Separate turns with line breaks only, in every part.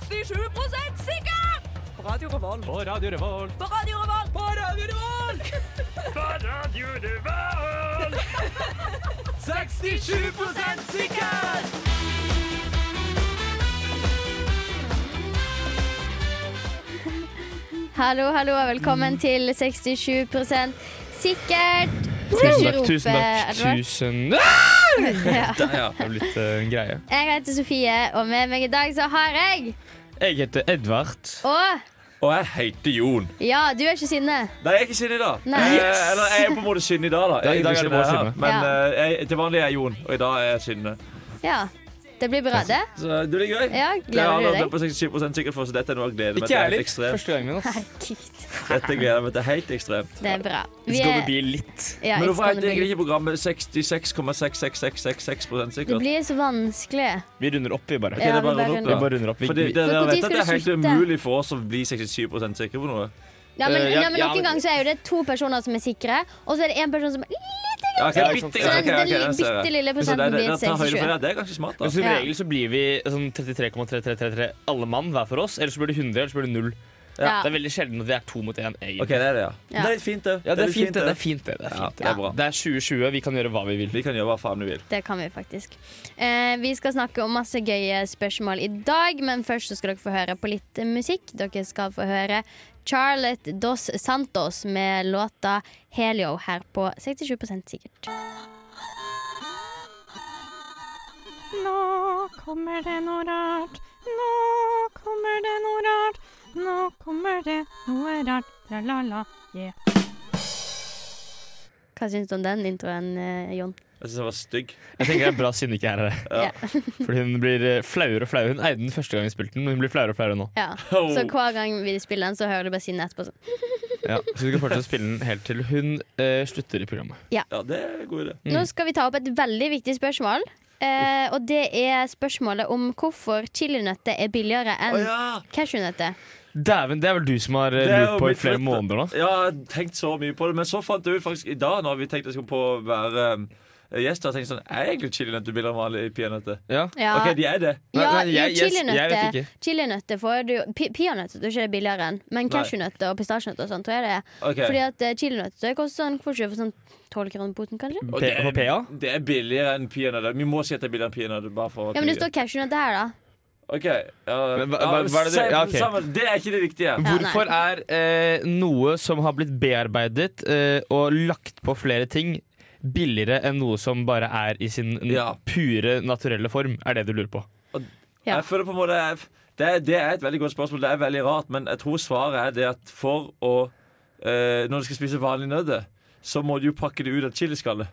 97 sikker! På Radio Revolt.
På Radio Revolt.
På Radio Revolt.
På Radio Revolt! På Radio Revolt! 67 sikker!
Hallo, hallo, og velkommen
Mm.
til 67 sikkert. Skal
Tusen
ikke
takk,
rope,
tusen takk.
Edvard?
Tusen Ah!
Ja.
Der, ja. Det er blitt eh, en greie.
Jeg heter Sofie, og med meg i dag så har jeg
Jeg heter Edvard.
Og
Og jeg heter Jon.
ja, du er ikke sinne.
Nei, jeg er ikke skinne i dag.
Nei.
Eh, eller jeg er på en måte skinne i dag, da.
Da er
I
du
dag er
skinne,
det bare
ja.
her. Men
Ja.
eh, jeg, til vanlig er jeg Jon, og i dag er jeg skinne.
Ja. Det blir bra, det.
Så det blir gøy.
Ja,
Det har
gleder
jeg
du deg?
på 67 sikkert for, så dette er noe jeg gleder meg
Ikke
til
jeg
helt
heller.
ekstremt.
Første gangen min. ass.
Herregud.
Dette gleder jeg meg til helt ekstremt.
Det er bra.
It's gonna be litt.
Men
ja, it's
hvorfor
gonna
heter egentlig
be-
ikke programmet 66,66666
Det
sikkert?
blir så vanskelig.
Vi runder opp, vi
Ok,
bare.
det
Ja,
er bare
vi
å runde
Vi
opp, da.
bare runder opp. Vi,
For det, det,
For
jeg
når
vet at det er
skal
helt
du slutte?
umulig for oss å bli 67 sikre på noe.
Ja, men,
Eh, ja,
ja, men
ja,
Noen
men-
ganger så er jo det to personer som er sikre, og så er det én person som er lite
Ja,
Ja,
okay,
ikke sant.
bitte,
Så
ok,
den-
ok,
den
den ser jeg.
bitte lille
Men så det-
prosenten blir
det- det tar høyde for
67.
det. Det er ganske smart, da.
Men som
Ja.
regel så blir vi sånn 33,333 alle mann hver for oss. Eller så blir det 100, eller så blir det 0.
Ja.
Det er veldig sjelden at vi er to mot én, egentlig.
OK, det er det, ja.
Ja.
Det er fint, det.
Ja, det er fint, det. Det er
det.
fint, det. Det er,
Ja,
fint, det.
det er bra.
Det er 2020, vi kan gjøre hva vi vil.
Vi kan gjøre hva faen du vil.
Det kan vi faktisk. Eh, vi skal snakke om masse gøye spørsmål i dag, men først så skal dere få høre på litt musikk. Dere skal få høre Charlotte Dos Santos med låta Helio her på 67 sikkert.
Nå kommer det noe rart. Nå kommer det noe rart. Nå kommer det noe rart. Tra-la-la, yeah.
Hva syns du om den introen, eh, Jon?
Jeg syns jeg var stygg.
Jeg tenker det er bra Synne ikke er her.
Ja.
Fordi hun blir eh, flauere og flauere. Hun eide den første gang vi spilte den, men hun blir flauere og flauere nå.
Ja.
Oh.
Så hver gang vi spiller den, så hører du bare Synne etterpå sånn.
Ja, så vi skal fortsette å spille den helt til hun eh, slutter i programmet.
Ja, det er en god idé.
Nå skal vi ta opp et veldig viktig spørsmål. Eh, og det er spørsmålet om hvorfor chilinøtter er billigere
Å
enn
ja!
cashewnøtter.
Dæven, det er vel du som har eh,
Det er jo
lurt på i
mitt
flere
flytte.
måneder nå?
Ja, jeg har tenkt så mye på det, men så fant jeg ut faktisk i dag, når vi tenkte jeg skulle på å være um, gjest, har jeg tenkt sånn Er egentlig chilinøtter billigere enn vanlige peanøtter?
Ja.
Ja.
OK, de er det.
Nei,
Ja,
nei, jeg-
jo,
jeg- jeg vet
chilinøtter
ikke.
Chilinøtter får du pi- Peanøtter er ikke det billigere enn, men cashewnøtter og pistasjenøtter og sånt, tror jeg det er.
Ok.
Fordi at eh, chilinøtter koster sånn hvorfor ikke for sånn 12 kroner poten, kanskje?
Og
P- på PA?
det er billigere enn peanøtter. Vi må si at det er billigere enn peanøtter. Bare for å
Ja, men det
krige.
står cashewnøtter her, da.
OK. Ja,
Men hva- hva- hva er det du-
se-
ja, ok.
sammen, det er ikke det viktige.
nei.
Hvorfor er eh, noe som har blitt bearbeidet eh, og lagt på flere ting, billigere enn noe som bare er i sin n-
Ja.
pure, naturelle form? Er det du lurer på?
Ja.
Jeg føler på en måte det, er- det er et veldig godt spørsmål. Det er veldig rart, men jeg tror svaret er det at for å eh, Når du skal spise vanlig nødde, så må du jo pakke det ut av chiliskallet.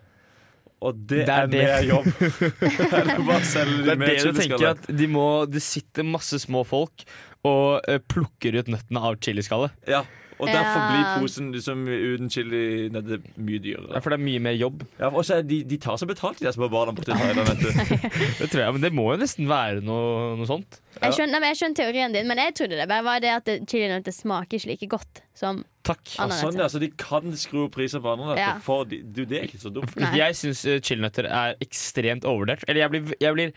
Og det,
Det er
er,
det.
mer jobb. Enn å bare selge
Det
det
er
med
det du tenker,
chiliskallet.
at de må, det sitter masse små folk og eh, plukker ut nøttene av chiliskallet.
Ja, og derfor
Ja.
blir posen liksom, uten chili nødde mye dyrere.
For det er mye mer jobb.
Ja, og så er de, de tar seg betalt, de der som har barna borti Thailand. vet du.
Det tror jeg, Men det må jo nesten være noe, noe sånt.
Jeg skjønner, nei, men jeg skjønner teorien din, men jeg trodde det bare var det at det- chilinøtter smaker ikke like godt som
Takk.
Ja, sånn, ja, så de kan skru opp prisene på andre.
Ja.
nøtter, For de, du, det er ikke så dumt.
Nei.
Jeg syns chilinøtter er ekstremt overvurdert. Eller jeg blir, jeg blir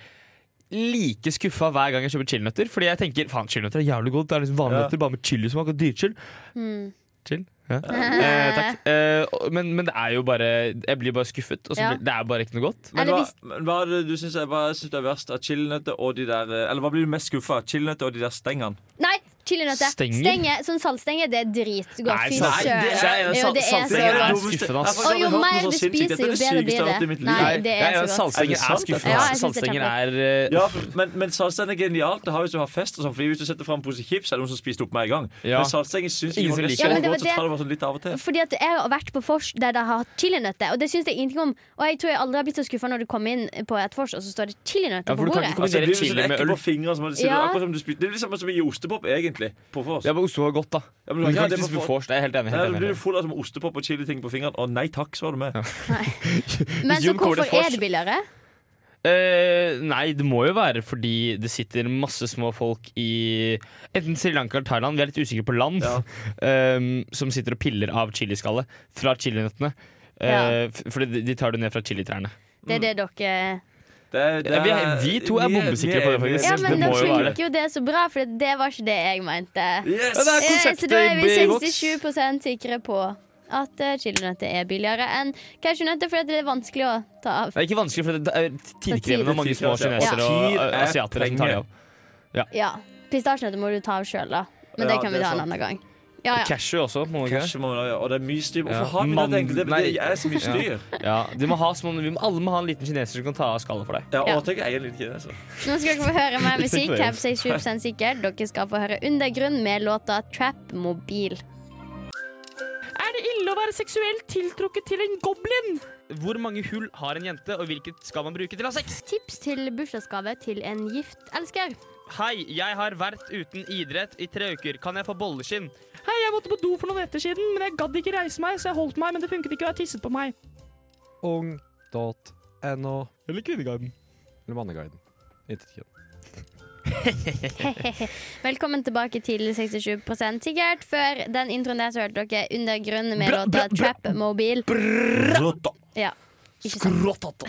like skuffa hver gang jeg kjøper chilinøtter. Fordi jeg tenker faen, chilinøtter er jævlig godt. Det er liksom vanlige
Ja.
nøtter, bare med chilismak og dyrchill.
Hmm.
Chill. Ja. Eh, takk. Eh, og- men, men det er jo bare Jeg blir bare skuffet. Og så
Ja.
blir, det er bare ikke noe godt.
Men
Eller
hva,
hvis-
men hva er det du syns er, hva synes du er verst av chilinøtter og de der eh, Eller hva blir du mest skuffa av? Chilinøtter og de der stengene?
Nei, chilinøtter.
Stenger?
Stenger, sånn saltstenger, det er dritgodt.
Nei,
Fy
salt-
søren.
det
er-
Jo, det er
salt-
så
saltstenger er
godt.
dumt. skuffende, ass.
Og jo mer du spiser, jo bedre blir det. Nei, det er
ja,
så godt.
Er
Saltstenger
det
er,
sant,
skuffende.
dette?
Ja,
ass.
jeg synes det er
saltstenger er eh,
Ja, for- men, men saltstenger er genialt. Det har vi som har fest og sånn, fordi Hvis du setter fram en pose chips, er det noen som spiser det opp med en gang.
Ja.
Men saltstenger syns
Ingen
ikke
som
det er
liker
så
det. Ja, men det var
godt, så
det-
tar det bare sånn litt av og til.
Fordi at jeg har vært på vors der de har hatt chilinøtter, og det syns jeg ingenting om. Og jeg tror jeg aldri har blitt så skuffa når du kommer inn på et vors, og så står det
Ja,
chilinøtter på
for du kan
bordet.
ikke-
Altså, det blir
Kombinere
jo
chili
sånn
med
ekte
øl.
på fingrene som man sitter,
Ja.
akkurat som du spiser. Det er liksom som å gi ostepop, egentlig. På for oss.
Ja, men Osto var godt, da.
Ja, men du
Men du
kan ikke
kan
det
ikke spise
på-
vors. Det er jeg helt enig.
Nei,
Helt
da
enig.
blir du full av sånn ostepop og chiliting på fingrene. Å nei takk, så var du med.
Men så
Jon Kåre
hvorfor
Fors.
er det billigere?
Eh, nei, det må jo være fordi det sitter masse små folk i enten Sri Lanka eller Thailand, vi er litt usikre på land,
Ja.
ehm, som sitter og piller av chiliskallet fra chilinøttene. Eh,
Ja.
f- Fordi de- de tar det ned fra chilitrærne.
Det er det dere
Det- det
Vi,
er-
vi to er
vi
bombesikre på det,
vi er-
faktisk.
Ja,
det
men
må
dere
jo være
liker jo det så bra, for det var ikke det jeg mente.
Yes!
Ja, det er
Eh, Så da er vi
konseptet i boks.
67 sikre på at eh, chilinøtter er billigere enn cashewnøtter, fordi det er vanskelig å ta av.
Det er ikke vanskelig, for det er tidkrevende
Det
og mange
tid.
små kinesere og
Tid er
uh, asiatere som tar det av.
Ja. Pistasjenøtter må du ta av sjøl, da. Men det
Ja,
kan
det
vi
er
ta en
sant.
annen gang. Ja, ja.
Cashew også. Må man ikke det?
Kanskje må man gjøre, og det er mye styr. Hvorfor
Ja.
har vi
Mann-
det egentlig? Det, det
nei.
er så mye styr.
ja, du må ha, små- vi må, Alle må ha en liten kineser som kan ta av skallet for deg.
Ja,
Ja.
og tenk jeg er litt kineser.
Nå skal dere få høre mer musikk.
Ikke
Her på 67 sikker. Dere skal få høre Undergrunn med låta Trap Mobil.
Er det ille å være seksuelt tiltrukket til en goblin?
Hvor mange hull har en jente, og hvilket skal man bruke til å ha sex?
Tips til bursdagsgave til en gift elsker.
Hei, jeg har vært uten idrett i tre uker. Kan jeg få bolleskinn?
Hei, jeg måtte på do for noen netter siden, men jeg gadd ikke reise meg, så jeg holdt meg, men det funket ikke, og jeg tisset på meg.
ung.no
Eller Kvinneguiden.
eller Manneguiden. Intet kjønn.
Velkommen tilbake til 67 sikkert. Før den introen der så hørte dere Undergrunn med
Bra,
låta
bra, bra.
Trap Mobil. Ja. Ikke sant.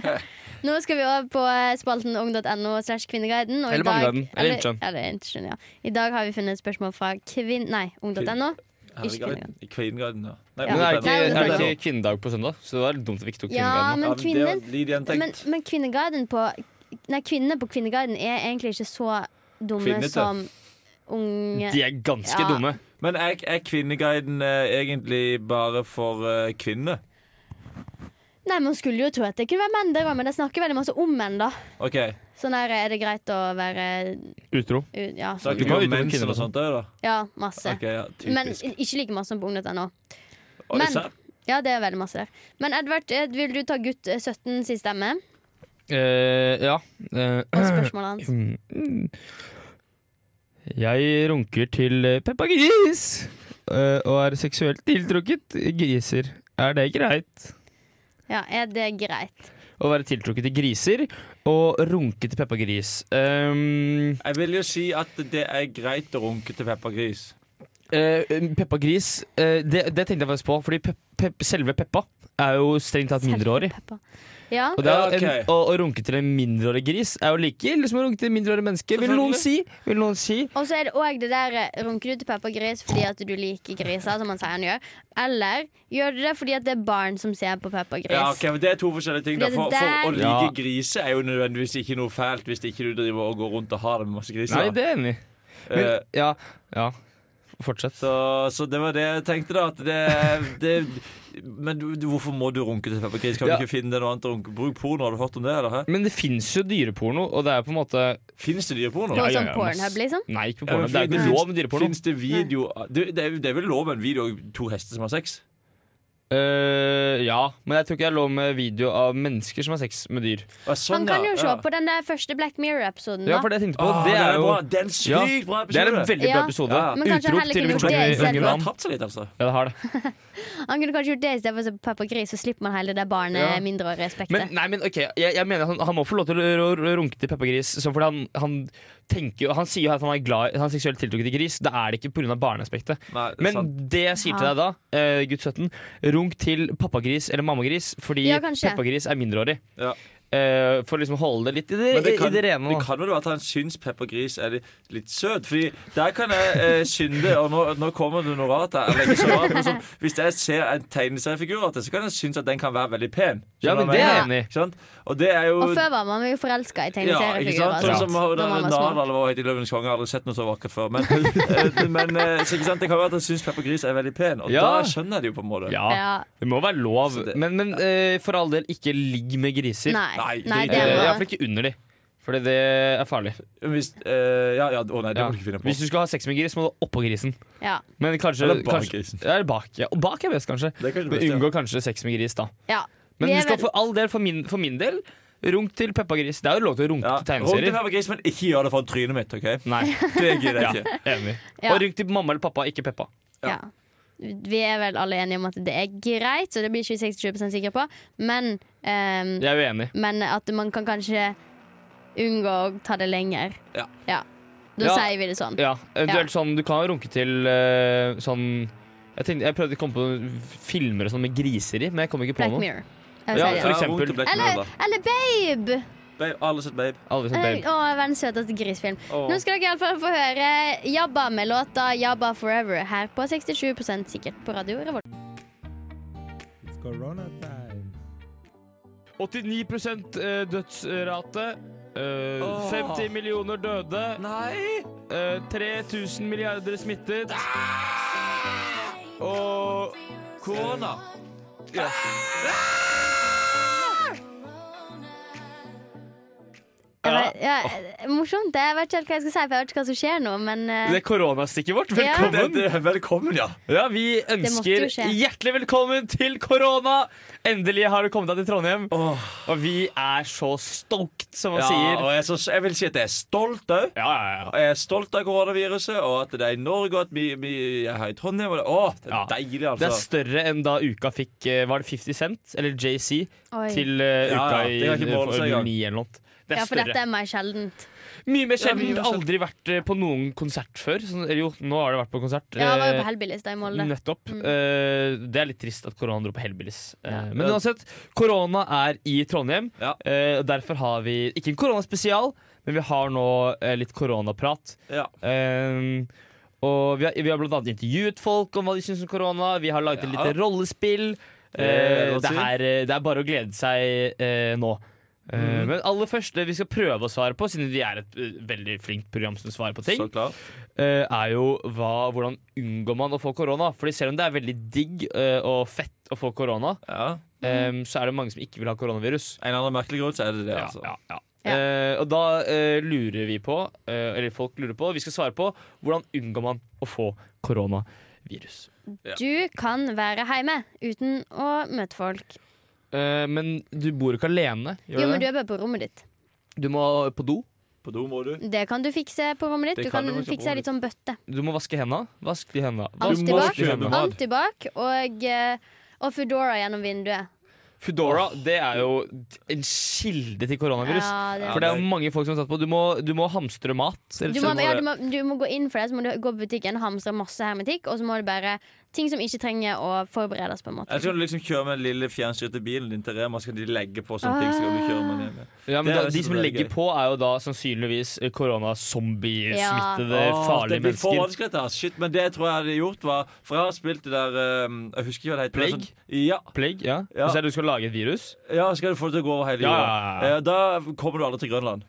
Nå skal vi over på eh, spalten ung.no slash kvinneguiden. og i
Eller
dag-
Manneguiden, eller
eller-
Internett.
ja, det er Internett, ja. I dag har vi funnet et spørsmål fra kvinn... Nei, ung.no.
Herregud. I Kvinneguiden, ja. Nei,
Ja.
Men er det,
Bondeguiden.
ikke,
Nei,
er det
Bondeguiden.
ikke kvinnedag på søndag? Så det var litt dumt at vi ikke tok
Ja,
kvinneguiden.
men kvinnen
Ja, det er litt
Men,
gjentenkt.
men kvinneguiden på Nei, kvinnene på kvinneguiden er egentlig ikke så dumme
Kvinnete.
som unge
De er ganske
Ja.
dumme.
Men er, er Kvinneguiden eh, egentlig bare for eh, kvinner?
Nei, Man skulle jo tro at det kunne være menn der òg, men det snakker veldig masse om menn. da
OK.
Sånn der er det greit å være
Utro.
u- Ja,
Så er
Du
det ikke
kan vite om kvinner
mensen og
og
sånt òg, da?
ja masse.
Ok, ja,
men
typisk.
ikke like masse som på ung.no.
Oi,
men-
serr?
Ja, det er veldig masse der. Men Edvard, eh, vil du ta gutt eh, 17 sin stemme?
Eh, ja.
Og spørsmålet hans.
Jeg runker til eh, Peppa Gris eh, og er seksuelt tiltrukket griser. Er det greit?
Ja, er det greit?
Å være tiltrukket til griser og runke til Peppa Gris. Um,
Jeg vil jo si at det er greit å runke til Peppa Gris.
Eh, Peppa Gris, eh, det, det tenkte jeg faktisk på, fordi pep, pep, selve Peppa er jo strengt tatt mindreårig.
Peppa. Ja.
Og det er,
Ja, ok.
en, å, å runke til en mindreårig gris er jo like ille som å runke til en mindreårig menneske, vil noen si. Vil noen si.
Og så er det òg det der eh, runker du til Peppa Gris fordi at du liker griser, som han sier han gjør, eller gjør du det fordi at det er barn som ser på Peppa Gris?
Ja, ok, men Det er to forskjellige ting. Da.
Fordi
For,
det
for å
der-
like
Ja.
griser er jo nødvendigvis ikke noe fælt hvis ikke du driver og går rundt og har det med masse griser.
Nei,
da.
det er jeg enig. i. Men,
Eh,
ja, ja. Fortsett.
så, så det var det jeg tenkte, da. At det, det Men du, du, hvorfor må du runke til Peppa Gris? Kan
Ja.
du ikke finne deg noe annet å runke? Bruk porno, har du hørt om det? eller? hæ?
Men det fins jo dyreporno, og det er på en måte
Fins det dyreporno?
Noe
Ja, ja,
som
ja, mass-
Pornhub, liksom?
Nei, ikke på
Ja,
porno.
men
det er jo
fordi
ikke
det
lov med dyreporno.
Fins det video det, det, er, det er vel lov med en video av to hester som har sex?
Eh, ja, men jeg tror ikke det er lov med video av mennesker som har sex med dyr.
Å, sånn,
Han kan
ja,
jo se
ja.
på den der første Black Mirror-episoden,
Ja,
da.
for det jeg tenkte på,
Åh,
det er jo
bra. Ah, Det er en sykt bra
Det
episode.
er en veldig bra
Ja.
episode.
Ja.
Men kanskje
Utrop
heller
til
kunne gjort det
unge
istedenfor.
Hun har
navn.
tapt seg litt, altså.
Ja, det har det.
Han kunne kanskje gjort det istedenfor å se på Peppa Gris, så slipper man hele det barnet
Ja.
mindreårige spektet.
Men, nei, men ok, jeg, jeg mener han, han må få lov til å ro- ro- runke til Peppa Gris. så Fordi han, han, tenker, jo- han sier jo at han er glad Han er seksuelt tiltrukket til gris. Da er det ikke pga. barneaspektet.
Nei, det er
Men
sant.
det jeg sier til deg da, eh, gutt 17, runk til pappagris eller mammagris fordi
Ja, kanskje.
pappagris er mindreårig.
Ja.
Eh, for liksom å holde det litt i det,
Men det
i-
kan,
i det rene.
det
da.
kan vel være at han syns Pepper Gris er litt, litt søt. Fordi der kan jeg eh, synde, og nå, nå kommer det noe rart her. Eller ikke så rart, men sånn, hvis jeg ser en tegneseriefigur, av det, så kan jeg synes at den kan være veldig pen. Skjønner
Ja, men
du hva
det er
jeg
jeg enig
mener?
i.
Ikke sant? Og det er jo
Og før var man jo forelska
øh, ja,
i
ikke sant?
tegneseriefigurer.
Sånn
og
som hun
sånt, når
der
man var
Nadal
små.
eller hva hun het i Løvenes konge. Jeg har aldri sett noe så vakkert før. Men, eh, men eh, så, ikke sant? det kan være at han syns Pepper Gris er veldig pen, og
Ja.
da skjønner jeg det jo på en måte.
Ja,
Ja.
det må være lov.
Så det-
Men, men eh, for all del, ikke ligg med griser.
Nei,
Nei,
nei,
det-
det
Eh,
Ja.
var
Iallfall ikke under de. Fordi det er farlig.
Hvis, eh, ja, ja, å nei, det
Ja.
må du ikke finne på.
Hvis du skal ha sex med gris, må du oppå grisen.
ja.
Men kanskje,
Eller bak
kanskje,
grisen.
Ja, eller bak, ja. Og bak er best, kanskje.
Det er kanskje
Men
best, ja.
unngå kanskje sex med gris, da.
ja.
Men
Vi
du
er
skal
vel-
for all del, for min, for min del, runk til Peppa Gris. Det er jo lov til å runke
Ja.
til
Rundt til
tegneserier.
Pepper Gris, men ikke gjør det foran trynet mitt. ok?
Nei,
Det gidder
ja,
jeg ikke.
enig.
Ja.
Og runk til mamma eller pappa, ikke Peppa.
ja. Vi er vel alle enige om at det er greit, så det blir ikke vi 67 sikre på. Men, ehm,
Jeg er uenig.
men at man kan kanskje unngå å ta det lenger.
Ja.
Da
Ja.
sier vi det sånn.
Ja, eventuelt sånn Du kan jo runke til eh, sånn jeg, tenkte, jeg prøvde å komme på noen filmer og sånn med griser i, men jeg kom ikke på
Black
noe.
Mirror. Jeg vil
Ja,
si det.
for eksempel.
rundt til Black Mirror,
Eller,
da.
eller Babe!
Babe, alle har sett Babe.
Alle som
Eh,
babe.
Å, verdens søteste grisfilm.
Åh.
Nå skal dere iallfall få høre Jabba med låta 'Jabba Forever' her på 67 sikkert på radio Revolt.
It's corona time.
89 eh, dødsrate. eh,
Åh.
50 millioner døde.
Nei!
eh, 3000 milliarder smittet. Og
Korona.
Jeg
Ja.
vet- Ja, eh, morsomt. Jeg vet ikke helt hva jeg skal si, for jeg vet ikke hva som skjer nå, men eh,
det er koronastikket vårt.
Ja.
Velkommen.
Det, det, velkommen, ja.
Ja, Vi
måtte jo
ønsker
skje.
hjertelig velkommen til korona! Endelig har du kommet deg til Trondheim.
Åh.
Og vi er så stoked, som man
ja
sier.
og jeg, er så, jeg vil si at jeg er stolt òg.
Ja, ja, ja.
Jeg er stolt av koronaviruset, og at det er i Norge, og at vi, vi jeg er i Trondheim. Og det, åh, det er
Ja.
deilig,
Det er
altså.
større enn da uka fikk eh, Var det 50 Cent eller JC
oi.
til eh,
Ja,
uka
ja, det kan
i
ikke måle seg
eh,
engang.
09 eller noe. Det er
Ja, for
større.
dette er mer sjeldent.
Ja,
Mye mer
mye
sjelden.
mer sjelden.
Aldri vært eh, på noen konsert før. Sånn, eller jo, nå har det vært på konsert.
Ja, jeg var jo
eh,
på Hellbillies da i Molde.
Nettopp.
Mm.
Eh, det er litt trist at korona dro på Hellbillies. Eh,
Ja.
Men uansett, korona er i Trondheim.
Ja.
Eh, og derfor har vi ikke en koronaspesial, men vi har nå eh, litt koronaprat.
Ja.
Eh, og vi har, vi har blant annet intervjuet folk om hva de syns om korona. Vi har laget et
Ja.
lite rollespill.
Eh,
Eh,
hva
det,
sier?
her, eh, det er bare å glede seg eh, nå. Eh,
Mm.
Men aller først, det vi skal prøve å svare på, siden vi er et eh, veldig flinkt program som svarer på ting,
Så klar.
eh, er jo hva, hvordan unngår man å få korona. Fordi selv om det er veldig digg eh, og fett å få korona,
Ja.
eh, så er det mange som ikke vil ha koronavirus.
En eller annen merkelig grunn, så er det det,
Ja,
altså.
ja, ja.
Ja.
Eh, og da eh, lurer vi på, eh, eller folk lurer på, vi skal svare på hvordan unngår man å få koronavirus.
Du kan være hjemme uten å møte folk.
Eh, men du bor ikke alene. Gjør
Jo, men
du,
du er bare på rommet ditt.
det? du må på do.
På do må du.
Det kan du fikse på rommet ditt.
Det
Du
kan
kan
du faktisk på
fikse ei
rommet
litt sånn bøtte.
Du må vaske hendene. Vask de hendene.
Alt
Vask-
tilbake.
vask de hendene.
Antibac og, eh, og Foodora gjennom vinduet.
Foodora det er jo en kilde til koronavirus.
Ja, det
For det er
det
jo mange folk som har tatt på. Du må, du må hamstre mat. rett
Du
og
må,
slett.
ja, du, må, du må gå inn for det, så må du gå på butikken, hamstre masse hermetikk, og så må du bare ting som ikke trenger å forberedes, på en måte.
Eller så kan du liksom kjøre med den lille fjernstyrte bilen din til Rema, så kan de legge på sånne ting. Så kan du kjøre med den hjemme.
ja, men
det er
da,
det
de
som
som
er
legger
gøy.
på, er jo da sannsynligvis koronazombiesmittede,
Åh,
farlige
det blir for
mennesker.
vanskelig, dette her. Shit, men det jeg tror jeg hadde gjort, var For jeg har spilt det der um, Jeg husker ikke hva det heter.
Plague?
men Sånn, ja,
Plague, ja.
Ja.
Og så er det du skal lage et virus?
ja, skal du få det til å gå over hele
Ja,
jorda.
ja, ja, ja.
Eh, Da kommer du aldri til Grønland.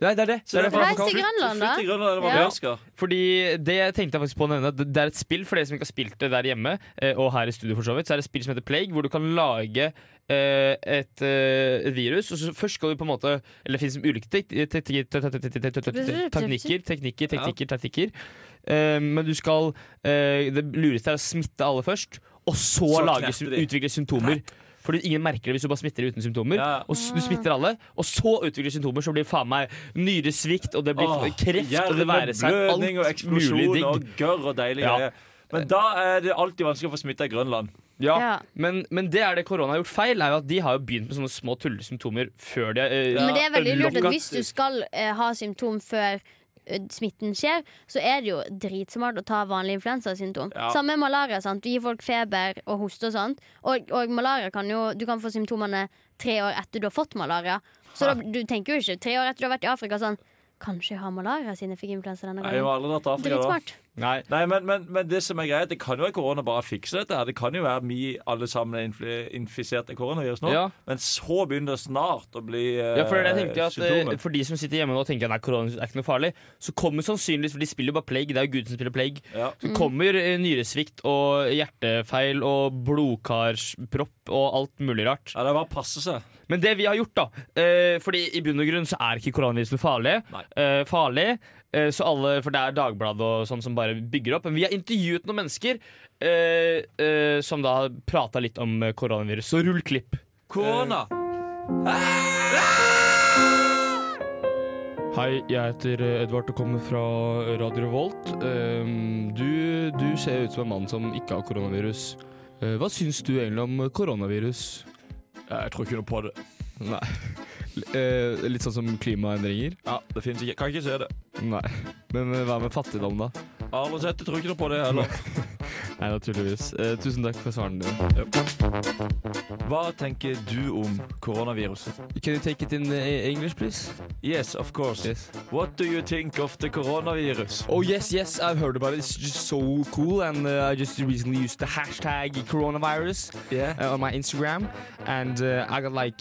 Nei, det er det. det, er det.
Reis til Grønland, da.
Flytt til Grønland eller
Ja.
Madagaskar.
Fordi det jeg tenkte jeg faktisk på å nevne at Det det er et spill for dere som ikke har spilt det der hjemme, eh, og her i studio for så vidt, så er det et spill som heter Plague, hvor du kan lage eh, et, eh, et virus. Og så først skal du på en måte Eller det finnes ulike tek- tek- tek- tek- tek- tek- tek- tek- tek- teknikker, teknikker, teknikker, teknikker. Eh, Men du skal eh, Det lureste er å smitte alle først, og så,
Så
lage,
knepper de.
utvikle symptomer. Fordi ingen merker det hvis du bare smitter uten symptomer.
Ja.
Og s- du smitter alle, og så utvikler symptomer, så blir faen meg nyresvikt, og det blir
Åh,
kreft, og det være seg
hjerneblødning og
alt mulig
eksplosjon
digg.
og gørr og deilige
Ja.
greier. Men da er det alltid vanskelig å få smitte i Grønland.
Ja,
Ja.
Men, men det er det korona har gjort feil, er jo at de har jo begynt med sånne små tullesymptomer før de eh,
Men det er veldig lurt at
unlocka-
hvis du skal eh, ha symptom før eh, smitten skjer, så er det jo dritsmart å ta vanlig influensasymptom.
Ja.
Samme med malaria. sant? Vi gir folk feber og hoste og sånt. Og, og malaria kan jo Du kan få symptomene tre år etter du har fått malaria. Så da, du tenker jo ikke tre år etter du har vært i Afrika sånn Kanskje jeg har malaria siden jeg fikk influensa denne
Nei, Jeg
gangen.
har aldri dratt til Afrika da.
Dritsmart.
Nei.
Nei, men, men, men det som er greit, det kan jo være korona bare fikser dette. her Det kan jo være vi alle sammen er infl infisert av koronavirus nå.
Ja.
Men så begynner det snart å bli eh,
Ja, for, det er det jeg tenkte at, eh,
symptomer.
for de som sitter hjemme nå og tenker at nei, korona er ikke noe farlig, så kommer sannsynligvis, for de spiller jo bare plague, det er jo Gud som spiller plague,
Ja.
Mm.
så kommer eh, nyresvikt og hjertefeil og blodkarspropp og alt mulig rart.
Ja, det er bare å passe seg.
Men det vi har gjort, da eh, Fordi i bunn og grunn så er ikke koronavirusen farlig.
Nei.
Eh, farlig eh, så alle, For det er Dagbladet og sånn som bare bygger opp. Men vi har intervjuet noen mennesker eh, eh, som da har prata litt om eh, koronavirus. Så rull klipp. Eh,
Korona!
Hei, jeg heter eh, Edvard og kommer fra eh, Radio Revolt. Eh, du, ser ut som en mann som ikke har koronavirus. Eh, hva syns du egentlig om koronavirus?
Jeg tror ikke noe på det.
Nei. litt sånn som klimaendringer?
Ja, det finnes ikke. Kan ikke se det.
Nei. Men eh, hva med fattigdom, da?
Aldri sett det. Tror ikke noe på det heller.
Nei, naturligvis. Eh, tusen takk for svarene dine.
Hva tenker du om koronaviruset?
Can you take it in eh, English, please?
Yes, of course.
Yes.
What do you think of the coronavirus?
Oh, yes, yes, I've heard about it. It's just so cool. And uh, I just recently used the hashtag coronavirus
Yeah.
uh, on my Instagram. And uh, I got like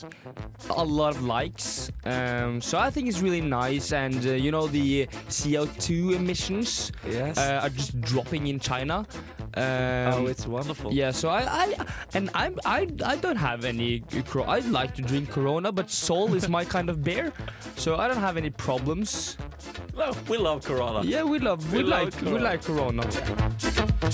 a lot of likes. Um, so I think it's really nice. And uh, you know, the CO2 emissions
Yes.
uh, are just dropping in China. Um,
oh, it's wonderful.
Yeah, so I, I and I'm I I don't have any. Cro- I like to drink Corona, but Sol is my kind of beer, so I don't have any problems.
Well, we love corona.
Yeah, we love we,
We love
like we
Corona.
like Corona.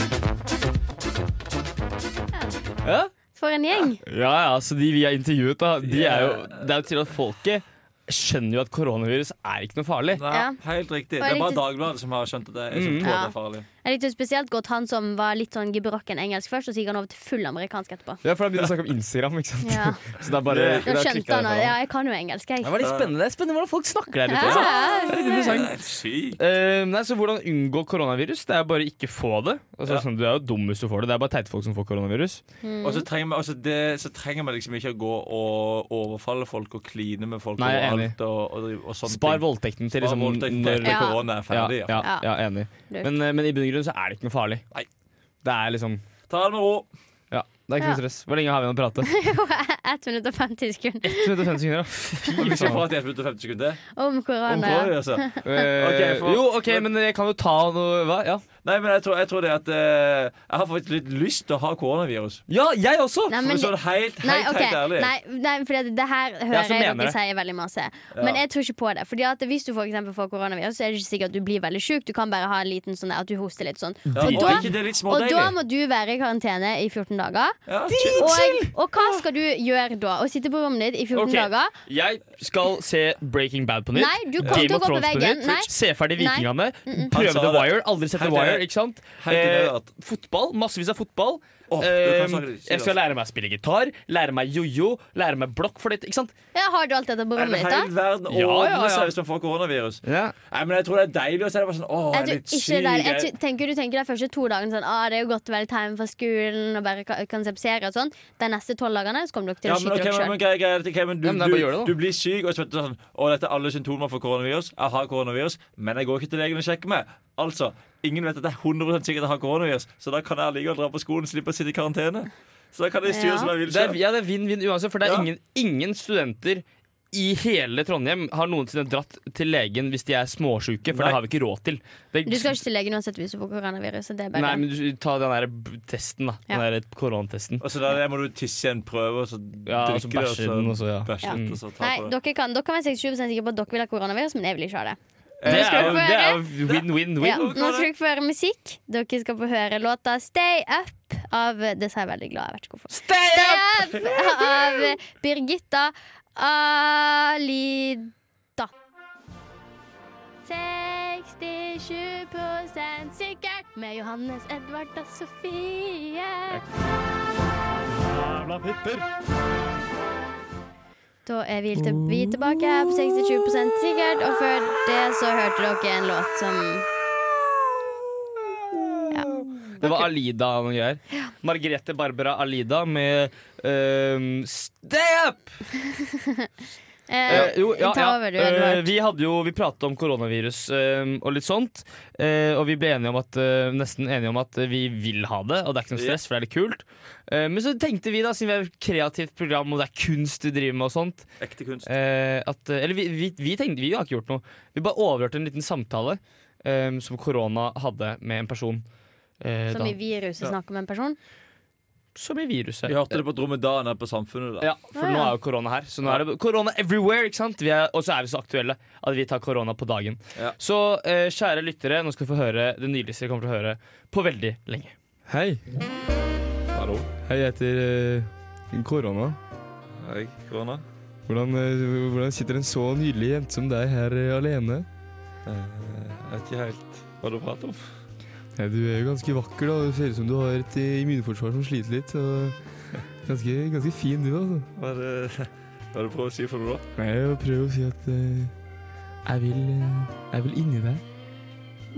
Ja.
For en gjeng.
ja, altså de vi har intervjuet, da, de er jo, det er jo til at folket skjønner jo at koronavirus er ikke noe farlig.
Nei,
Ja.
Helt riktig.
Bare
Det er bare
litt-
Dagbladet som har skjønt at det er, som
Mm.
tror at
Ja.
det er farlig.
Jeg likte spesielt godt han som var litt sånn gebrokken engelsk først, og så gikk han over til full amerikansk etterpå.
Ja, for da begynner å snakke om Instagram, ikke sant.
Ja,
Så det er bare
Ja,
det
Da
er klikket
skjønte han at
derfra.
ja, jeg kan jo engelsk,
Det
jeg.
var litt spennende Det er spennende hvordan folk snakker der ute.
Ja, ja,
Det er litt
Det
interessant.
er sykt.
Eh, nei, så Hvordan unngå koronavirus? Det er bare ikke få det. Altså,
Ja.
sånn, du er jo dum hvis du får det. Det er bare teite folk som får koronavirus.
Og
Mhm.
så trenger, man, altså det, så trenger man liksom ikke å gå og overfalle folk og kline med folk
Nei, jeg er enig.
overalt. Og, og, og sånne
Spar
ting.
voldtekten til
Spar
liksom,
voldtekten
når-
til
Ja.
korona er
ja,
ferdig. Ja.
ja, ja, enig.
Lurt.
Men, eh, men i bunn og grunn så er det ikke noe farlig.
Nei.
Det er liksom
Ta det med ro.
Ja, det er ikke noe
Ja.
stress. Hvor lenge har vi igjen å prate?
Ett minutt og 50 sekunder
150 sekunder, da.
Og Vi skal
faen.
prate i 1 minutt og 50 sekunder.
om
Om
korona.
korona, altså.
Eh,
Ok, for-
Jo, OK, men jeg kan jo ta noe Hva? Ja,
Nei, men jeg tror, jeg tror det at eh, Jeg har fått litt lyst til å ha koronavirus.
ja jeg også!
Nei,
For
men
å være helt, helt,
Nei, ok.
helt ærlig.
nei, nei for det her hører
som
jeg
mener
dere
det.
sier veldig masse.
Ja.
Men jeg tror ikke på det. Fordi at Hvis du for eksempel får koronavirus, Så er det ikke sikkert at du blir veldig sjuk. Du kan bare ha en liten sånn der at du hoster litt sånn.
Ja,
Og
og
da-
ikke det er litt
Og da
smådeilig?
må du være i karantene i 14 dager.
Ja,
Og, og hva skal du gjøre da? Å sitte på rommet ditt i 14
Ok.
dager?
Jeg skal se Breaking Bad på nytt.
Nei, du kommer
Game
til å gå
of
på
Thrones på
veggen.
nytt.
Nei.
Se ferdig
Nei.
Vikingene.
Han
Prøve
sa
The
det.
Wire. Aldri sett The
Helt enig.
Wire, ikke sant?
Helt enig,
Eh,
at-
fotball. Massevis av fotball.
Åh, du
Eh,
kan snakke litt, si
jeg
det,
skal
altså.
lære meg å spille gitar, lære meg jojo, lære meg blokkfløyte. Ikke sant?
Ja, har du alt dette på
En
rommet ditt,
hel
da?
verden
Ja, ja, ja.
ordner seg hvis man får koronavirus. Nei, men jeg tror det er deilig å se det bare sånn Å, jeg
Jeg
er
tror
litt
ikke det. Jeg
syk.
tror- tenker, du tenker de første to dagene sånn ah, Det er jo godt å være litt hjemme fra skolen og bare ka- kan se på serier og sånn. De neste tolv dagene så kommer dere til
Ja,
å
men,
skyte
ok, men,
dere
men, grei, grei, ok, men du,
Ja, men da bare gjør det, da.
du, du blir syk, og så vet du sånn Å, dette er alle symptomer for koronavirus. Jeg har koronavirus, men jeg går ikke til legen og sjekker meg. Altså, ingen vet at jeg er 100 sikker at jeg har koronavirus, så da kan jeg allikevel dra på skolen og slippe å sitte i karantene. Så da kan jeg styre
Ja.
som jeg vil.
Det er,
selv.
ja, det er vinn-vinn uansett, for det er
Ja.
ingen, ingen studenter i hele Trondheim har noensinne dratt til legen hvis de er småsjuke, for
Nei.
det har vi ikke råd til. Det,
sjøl. Du skal ikke til legen uansett hvis du får koronavirus. så Det er bare
Nei, men du, ta den der b- testen, da.
Ja.
Den der koronatesten.
Og så da må du tisse i en prøve, og så
Ja, og så
drikke det,
bæsje den, og så ja. Mm.
bæsje
Ja.
litt, og så ta
Nei,
på det.
dere kan, dere kan være 67 sikre på at dere vil ha koronavirus, men jeg vil ikke ha det.
Det
skal
er jo
du få
det er
høre.
jo win-win-win.
Ja, nå skal dere få høre musikk. Dere skal få høre låta 'Stay Up' av Det sa jeg veldig glad, jeg vet ikke hvorfor. Stay, Up av Birgitta Alida. 67 sikkert med Johannes, Edvard og Sofie. Da er vi, til, vi er tilbake her på 67 sikkert, og før det så hørte dere en låt som
Det var Alida og noen greier. Margrethe Barbara Alida med ehm, Stay up!
eh,
Eh, jo, ja,
Ta
ja.
over du,
Eh,
Edvard.
vi hadde jo, vi pratet om koronavirus ehm, og litt sånt. eh, og vi ble enige om at, eh, nesten enige om at vi vil ha det, og det er ikke noe stress, for det er litt kult. Eh, men så tenkte vi, da, siden vi er et kreativt program og det er kunst vi driver med, og sånt
Ekte kunst.
Eh, at, eller vi, vi, vi tenkte Vi har ikke gjort noe. Vi bare overhørte en liten samtale eh, som korona hadde med en person. eh,
Som
da-
i viruset
Ja.
snakker om en person.
som i viruset.
Vi hørte det på dromedaen her på Samfunnet. da
Ja, for
Ah,
nå
ja.
er jo korona her. Så nå er det korona everywhere, ikke sant? Vi er, og så er vi så aktuelle at vi tar korona på dagen.
Ja.
Så eh, kjære lyttere, nå skal du få høre det nydeligste dere kommer til å høre på veldig lenge.
Hei.
Hallo.
Hei, jeg heter eh, Korona.
Hei, korona.
Hvordan, eh, hvordan sitter en så nydelig jente som deg her eh, alene?
Jeg vet ikke helt hva du prater om.
Nei, du er jo ganske vakker, da. Du ser ut som du har et eh, immunforsvar som sliter litt. Og ganske, ganske fin du, altså.
Hva er det, hva er det du prøver å si for noe da?
Nei, jeg prøver å si at eh, jeg vil eh, Jeg vil inni deg.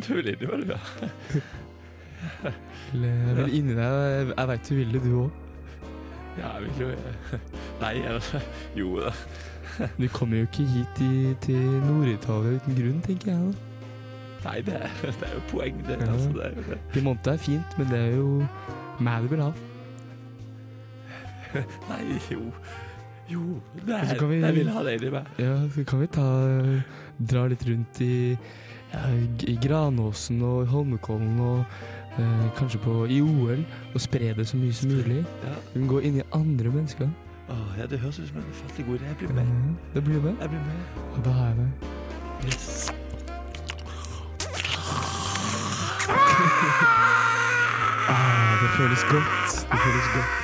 Du vil inn i hva du gjør.
eh, Eller, Jeg vil inni deg. Jeg, jeg veit du vil det, du òg.
Ja, jeg vil jo eh, Nei, eller Jo. da.
Du kommer jo ikke hit i, til Nord-Italia uten grunn, tenker jeg. da.
Nei, det er, det er jo poeng, det. Altså, det, er jo det.
Piemonte er fint, men det er jo meg du vil ha.
Nei, jo. Jo. Nei,
Så kan vi-
jeg vil ha det inni meg.
Ja, så kan vi ta eh, dra litt rundt i, ja, i Granåsen og i Holmenkollen og eh, kanskje på, i OL og spre det så mye som mulig.
Ja.
Vi kan gå inn i andre mennesker.
Åh, ja, det høres ut som en fattig god idé. Jeg blir
Ja,
med.
det blir det.
Jeg blir med.
Og da har jeg det.
Yes.
Ah, det føles godt. Det føles godt.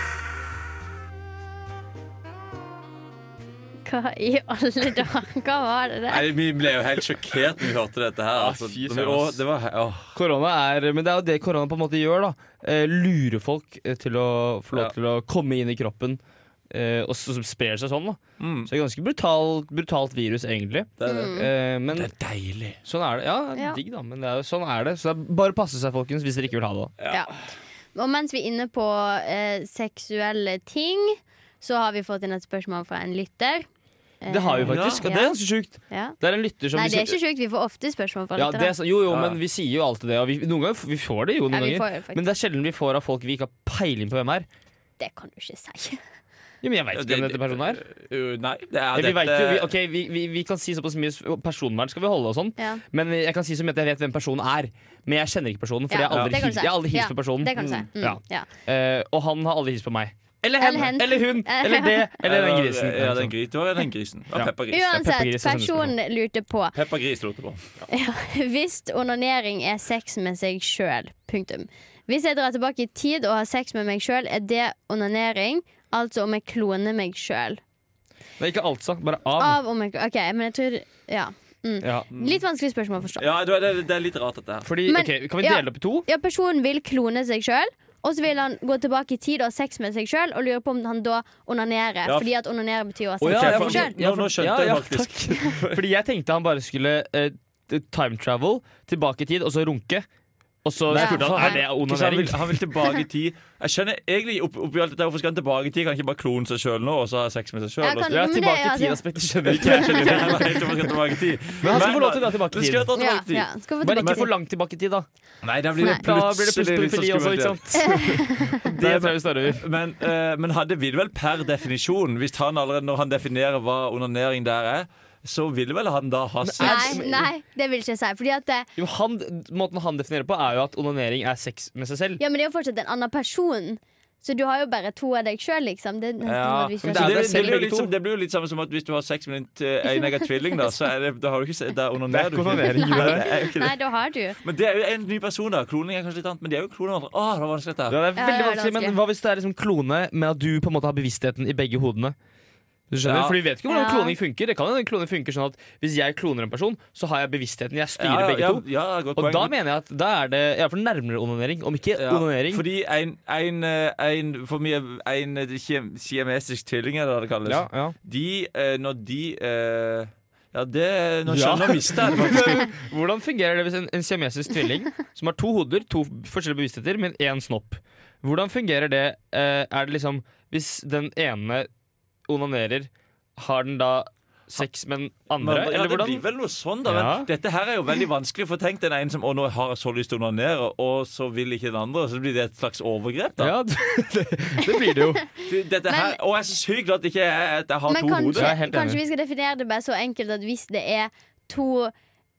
Hva i alle dager? Hva var det der?
Nei, vi ble jo helt sjokkert når vi hørte dette her.
Ja,
Altså,
fy
det,
søren,
var,
ass.
det var, åh.
Korona er, men det er jo det korona på en måte gjør. da eh, Lure folk eh, til å få lov
Ja.
til å komme inn i kroppen, eh, og så så sprer det seg sånn. da
Mm,
Så det er ganske brutalt, brutalt virus, egentlig.
det er det.
Eh, men
Mm. Det er deilig.
sånn er det. Ja, det er
Mm. Ja.
digg, da, men det er, jo- sånn er det. Så det er bare å passe seg, folkens, hvis dere ikke vil ha det. da
Ja. Mm. Og mens vi er inne på eh, seksuelle ting, så har vi fått inn et spørsmål fra en lytter.
Det har vi
Eh, Ja.
faktisk, og det er ganske sjukt.
Ja.
Det er en lytter som
Eh, Nei,
vi
det er
sier-
ikke sjukt. Vi får ofte spørsmål fra
ja, det er,
lyttere.
sant. Jo, jo,
Ja.
men vi sier jo alltid det. Og vi, noen ganger f- vi får det jo,
Ja,
noen
vi
ganger.
får jo faktisk-
Men det er sjelden vi får av folk vi ikke har peiling på hvem er.
Det kan du ikke si.
Ja, men jeg vet ikke hvem dette personen er.
Uh, nei, det er
vi, vet jo, vi,
dette-
ok, vi, vi, vi kan si såpass mye s- personvern skal vi holde og sånn,
Ja.
men jeg kan si så mye at jeg vet hvem personen er. Men jeg kjenner ikke personen, for
Ja,
jeg har aldri,
det kan du
hils-
si.
jeg har aldri hilst
Ja,
på personen.
Det kan du si. Mm,
Mm-hmm. Ja.
ja.
Eh, og han har aldri hilst på meg. Eller hen,
Eller hen.
eller hun, eller det, eller den grisen. liksom.
Ja, den grisen. Det var den grisen. Ja,
Ja.
peppergris.
Uansett,
peppergris og
personen lurte på
Peppergris lurte på.
Hvis onanering er sex med seg sjøl. Punktum. Hvis jeg drar tilbake i tid og har sex med meg sjøl, er det onanering. Altså om jeg kloner meg sjøl.
Nei, ikke altså, bare av.
Av om jeg OK, men jeg tror Ja.
Ja.
Mm.
Litt vanskelig spørsmål å forstå.
Ja, det, det, det er litt rart, dette her.
Fordi,
Men-
ok, Kan vi
ja.
dele det opp i to?
Ja, personen vil klone seg sjøl. Og så vil han gå tilbake i tid og ha sex med seg sjøl og lurer på om han da onanerer.
Ja, f-
Fordi at onanere betyr å ha sex
Å, ja,
med
ja,
for-
seg sjøl.
Ja,
Nå, nå skjønte
ja,
jeg
ja,
faktisk.
Fordi jeg tenkte han bare skulle eh, time travel tilbake i tid, og så runke. Og så
Nei,
spurte han
faen,
er det
Ikke sant, Han
onanering.
vil, han vil tilbake i tid. Jeg skjønner egentlig opp, oppi alt dette, Hvorfor skal han tilbake i tid? Kan han ikke bare klone seg sjøl nå og så ha sex med seg
Ja, kan-
sjøl?
Ja,
men det-
tilbake i
altså-
tid-aspektet skjønner ikke jeg. skjønner ikke. Men han skal få lov til å dra tilbake i
Det skal jeg
tid.
ta
Ja,
tilbake i
ja.
tid.
Skal få
Bare ikke
tilbake
for
til
langt tilbake i tid, da.
Nei, da blir det
Da blir det plutselig
litt sånn
pedofili også, ikke
skummelt.
sant? Det
Nei,
tror jeg vi står over.
Men, eh, men hadde vil vel per definisjon, hvis han allerede når han definerer hva onanering der er, så ville vel han da ha sex?
Nei, nei, det vil ikke jeg si. Fordi at eh,
Jo, han, måten han definerer på, er jo at onanering er sex med seg selv.
Ja, men det er jo fortsatt en annen person. Så du har jo bare to av deg sjøl, liksom. Det er nesten
Ja,
som at
men
vi ikke
det,
er-
har-
det,
det
det,
selv
blir jo
begge
litt, som-
to.
det blir jo litt samme som at hvis du har sex med din t- en egen tvilling, da, så er det, da har du ikke se- da onanerer du ikke.
onanering,
Nei, det er jo ikke
Nei,
det.
da har du.
Men det er jo en ny person, da. Kloning er kanskje litt annet, men de er jo kloner hverandre. Å, det var vanskelig, dette.
Ja, det er
Ja,
veldig
det er
vanskelig,
vanskelig.
men hva hvis det er liksom klone med at du på en måte har bevisstheten i begge hodene? Du skjønner,
Ja.
For vi vet ikke hvordan
Ja.
kloning funker. Det kan hende kloning funker sånn at Hvis jeg kloner en person, så har jeg bevisstheten. Jeg
Ja,
styrer
ja,
begge
ja,
to.
ja, godt
Og
poeng.
da mener jeg at da er det i hvert fall nærmere onanering, om ikke
Ja,
onanering.
Fordi en, en, eh, en For mye En eh, kiem- siamesisk tvilling, er det det kalles.
Ja, ja.
De, eh, når de eh, Ja, det Nå
Ja.
skjønner jeg mista jeg det faktisk.
Hvordan fungerer det hvis en, en siamesisk tvilling som har to hoder, to forskjellige bevisstheter, men én snopp Hvordan fungerer det? Eh, er det liksom Hvis den ene onanerer, har den da sex med den
Men,
andre?
ja,
Eller
det blir
hvordan?
vel noe sånn, da.
Ja.
Men dette her er jo veldig vanskelig, for tenk den ene som Å, nå har jeg så lyst til å onanere, og så vil ikke den andre. Så blir det et slags overgrep, da.
Ja, det, det blir det jo.
Dette her, og jeg er så sykt glad at ikke jeg, at jeg har
Men
to
kanskje,
Jeg
hoder.
er helt
kanskje
enig.
vi skal definere det bare så enkelt at hvis det er to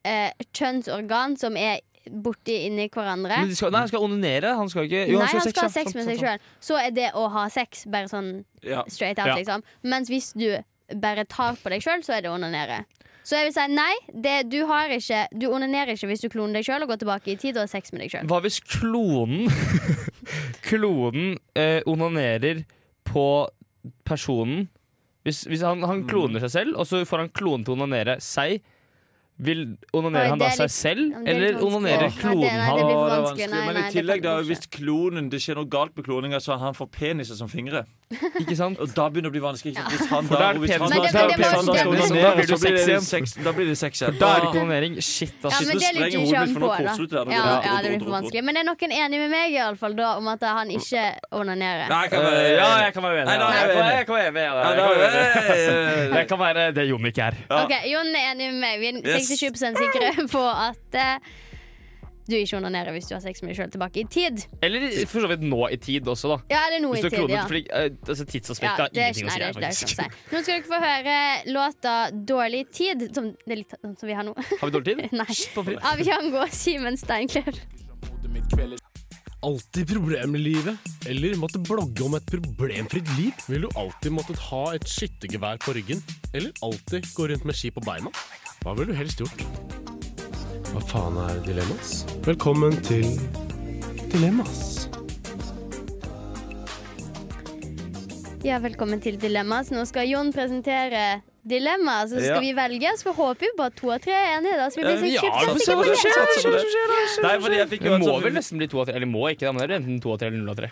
eh, kjønnsorgan som er borti inni hverandre
Men de skal, nei, han skal onanere. Han skal ikke jo,
Nei, han skal ha
ja. Sånn,
sex med
Sant,
seg
sant,
sjøl. Så er det å ha sex bare sånn
Ja.
straight out,
Ja.
liksom. Mens hvis du bare tar på deg sjøl, så er det å onanere. Så jeg vil si nei, det, du, har ikke, du onanerer ikke hvis du kloner deg sjøl og går tilbake i tid og har sex med deg sjøl.
sant. Hva hvis klonen Klonen eh, onanerer på
Mm.
personen? Hvis, hvis han, han kloner seg selv, og så får han klonen til å onanere seg. Vil onanerer
Oi,
han da
det er
seg selv,
Ja, men det er litt
eller
vanskelig.
onanerer
Åh, nei, det- nei,
kloden
det
hans?
Å, det
blir for
er
vanskelig. Nei,
Men
nei,
i
det
tillegg,
kan
da,
vi
hvis klonen Det skjer noe galt med kloninga, så han får peniser som fingre.
Ikke sant?
Og da begynner det å bli vanskelig. Ikke? sant? Hvis han
For da
da
er det
hvis han- hvis han-
Nei,
penis-
det- det
hvis
var-
han da skal
det-
det-
onanere,
det-
så blir det
det-
sex- Da blir det sex igjen.
For da er det Altså,
Ah.
onanering.
Ja,
Shit, ass.
synes
men
du
det ligger
sprenger
ikke
hodet for
han på,
nå
da.
koser du deg, da går det rundt,
Ja,
rundt,
ja, det blir
rundt,
for
rundt.
vanskelig. Men er noen enig med meg i alle fall, da, om at han ikke onanerer?
Nei, jeg kan
Eh,
være-
ja, jeg kan være uenig.
Nei, da er
ja.
jeg
Jeg kan være-
uenig.
jeg kan være enig. ja,
Ja,
da.
da-
Jeg kan være enig.
eh,
Jeg kan være det Jon ikke er.
Ja.
OK, Jon er enig med meg. Vi er
Yes.
67 sikre på at eh, du ikke onanerer hvis du har sex med deg sjøl tilbake i tid.
Eller i- for så vidt nå i tid også, da.
Ja, eller nå
Hvis
i
du har
tid.
klonet,
Ja.
fordi, eh, altså, Tidsaspektet har
det er ikke-
ingenting å si
nei,
her,
det er- det er ikke sånn å
faktisk.
si. Nå skal dere få høre låta 'Dårlig tid', som, det er litt, sånn som vi har nå.
Har vi dårlig tid?
Nei. Av Jango og Simen Steinkløv.
alltid problem i livet? Eller måtte blogge om et problemfritt liv? Vil du alltid måttet ha et skyttergevær på ryggen? Eller alltid gå rundt med ski på beina? Hva ville du helst gjort? Hva faen er dilemmas? Velkommen til Dilemmas.
Ja, velkommen til Dilemmas. Nå skal Jon presentere dilemmaet, så skal
Ja.
vi velge. Så håper vi på at to av tre er enige. da Så vi
Eh,
blir
Ja, vi
sånn
altså.
får se
kjempesikre
hva
på
som
det.
skjer, satser på det. Nei, fordi jeg fikk jo altså-
Det må
ansvar for-
vel nesten bli to av tre. Eller må ikke, da, men det er enten to av tre eller null av tre.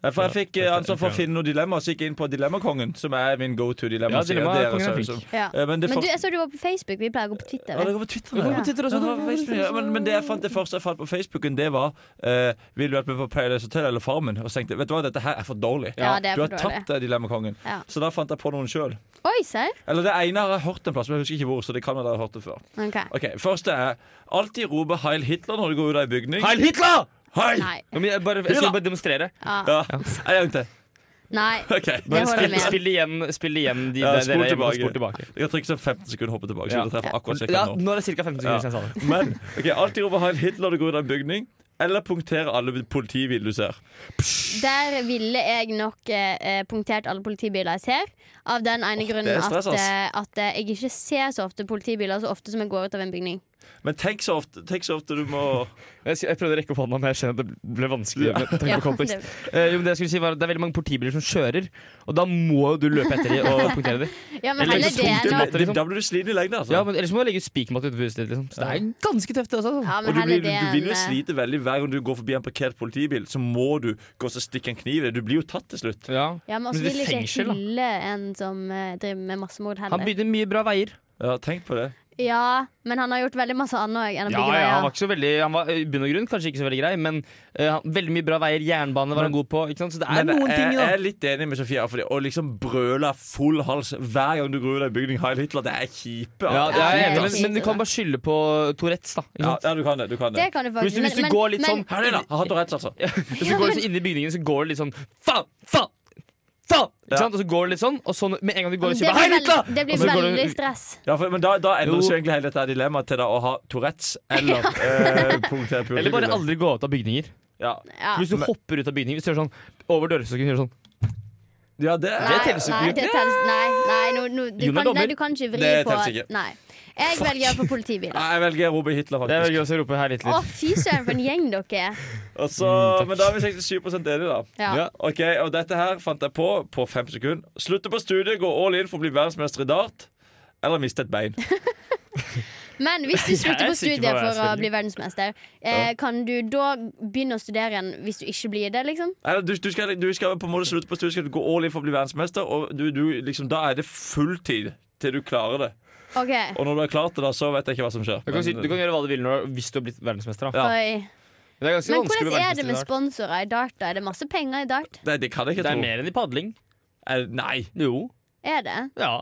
Ja, for jeg fikk eh, ansvar for å
Ja.
finne noen dilemmaer, så gikk jeg inn på Dilemmakongen, som er min go to dilemma.
Ja, Dilemmakongen er flink.
Ja.
Eh, Men det
Men
for-
du, jeg så du var på Facebook. Vi pleier å gå på Twitter.
Ja, det
vel?
går på Twitter.
går på
ja. Ja, Facebook, ja, men, men det jeg fant det første jeg fant på Facebooken, det var eh, Vil du være med på Paradise Hotel eller Farmen? Og så tenkte jeg, vet du hva, dette her er for dårlig.
Ja, det er
du
for
har
dårlig.
tatt det, Dilemmakongen.
Ja.
Så da fant jeg på noen sjøl.
Oi, serr?
Eller det ene har jeg hørt en plass, men jeg husker ikke hvor. Så det kan være dere har hørt det før.
Ok.
Ok, Første er alltid rope 'Heil Hitler' når du går ut av en bygning.
Heil Hitler!
Heil!
Nei.
Ja, men jeg, bare, jeg skal bare demonstrere.
Ja.
Ja. En gang til.
Nei.
OK.
Det holder
Spill,
med.
spill igjen, spill igjen de,
Ja,
der-
spol
dere er hjemme og
tilbake.
spol tilbake.
Jeg kan trykke sånn 15 sekunder og hoppe tilbake. Så
Ja.
jeg treffer akkurat
Ja,
cirka nå.
nå er det ca. 15 sekunder siden jeg sa det.
Men ok, alltid rope 'Heil Hitler' når du går ut av en bygning. Eller punktere alle politibiler du ser.
Der ville jeg nok eh, eh, punktert alle politibiler jeg ser. Av den ene
det
grunnen
er stress,
at,
ass.
eh, at eh, jeg ikke ser så ofte politibiler så ofte som jeg går ut av en bygning.
Men tenk så ofte, tenk så ofte du må
Jeg, sk- jeg prøvde å rekke opp hånda, men jeg skjønner at det ble vanskelig. med tanke
Ja,
på kontekst.
det-
Eh, jo, men det, jeg skulle si var at det er veldig mange politibiler som kjører, og da må jo du løpe etter dem og punktere dem.
Ja, men
Eller
heller
så
det
punkter
enn å
du- liksom.
Da blir du sliten i lengden. Altså.
Ja, men Ellers må du legge ut spikermatte utenfor huset ditt. Liksom. Så det er ganske tøft, det også. Altså.
ja, men
og du,
heller
blir,
det
du vil jo
enn, eh,
slite veldig hver gang du går forbi en parkert politibil. Så må du gå og stikke en kniv i det. Du blir jo tatt til slutt.
Ja.
Ja, men
Men
også
det
vil ikke jeg
fengsel, da.
hylle en som eh, driver med massemord
Han
heller.
bygde mye bra veier.
Ja, tenk på det.
Ja, men han har gjort veldig masse annet òg enn å
Ja,
bygge
ja, han
veier.
var ikke så veldig Han var i bunn og grunn kanskje ikke så veldig grei, men eh, han- veldig mye bra veier. Jernbane var han god på. Ikke sant? Så det er
Men eh,
noen ting,
jeg,
da.
jeg er litt enig med Sofia. For det, å liksom brøle full hals hver gang du går ut av en bygning, Heil Hitler, det er kjipe.
Ja,
altså.
jeg er
Ja,
enig,
det er
men,
fint,
men du kan
det.
bare skylde på Tourettes, da. Ikke
ja,
sant?
ja, du kan det. Du kan
Det
det.
kan du
Hvis
faktisk
du, hvis du
men-
går litt
men-
sånn
Heil Hitler! Han har rett, altså.
Hvis du går liksom inn i bygningen, så går det litt sånn faen, faen, faen! Ikke
Ja.
sant? Og så går det litt sånn, og så med en gang du går i
det
kjøpet
blir,
Hei, Hitler!
veld, det blir
Og så går du-
veldig stress.
Ja, for, men da, da endres
Jo.
jo egentlig hele dette her dilemmaet til da, å ha Tourettes eller eh, punktert politibil.
Eller bare aldri gå ut av bygninger.
Ja,
Ja.
Hvis du hopper ut av bygninger, hvis du gjør sånn over dørstokken gjør sånn
ja det,
Nei,
telles jo ikke.
Nei, det telles, nei, nei, no, no, du,
Jon er
kan, nei,
dommer.
du kan ikke vri
Det
på
telles ikke.
Nei. Jeg velger på politibiler.
Nei, jeg velger Robin Hitler,
Det er
faktisk.
gøy å rope her litt
Å,
litt.
fy søren, for en gjeng dere er.
Og så,
Mm,
men da er vi 67 enige, da.
Ja.
Ja.
Ok, og dette her fant jeg på på fem sekunder. Slutte på studiet, gå all in for å bli verdensmester i dart. Eller miste et bein.
Men hvis du
Jeg
slutter
er
på
sikker på
studiet
hva jeg
for å
skal
bli verdensmester, eh, kan du da begynne å studere igjen hvis du ikke blir det, liksom?
Eller, du, du, skal, du skal på en måte slutte på studiet, skal du gå all in for å bli verdensmester, og du, du, liksom, da er det fulltid til du klarer det.
OK.
Og når du har klart det, da, så vet jeg ikke hva som skjer.
Du kan, si, du kan gjøre hva du vil når, hvis du har blitt verdensmester. Da.
Ja.
Oi.
Men Det er ganske
Men
vanskelig å
hvordan
bli
er det med
verdensmester. i dag.
sponsorer i dart, da? Er det masse penger i dart?
Nei, det kan jeg
Det
ikke
er
tro.
mer enn i padling.
Eh, Nei.
Jo.
Er det?
Ja.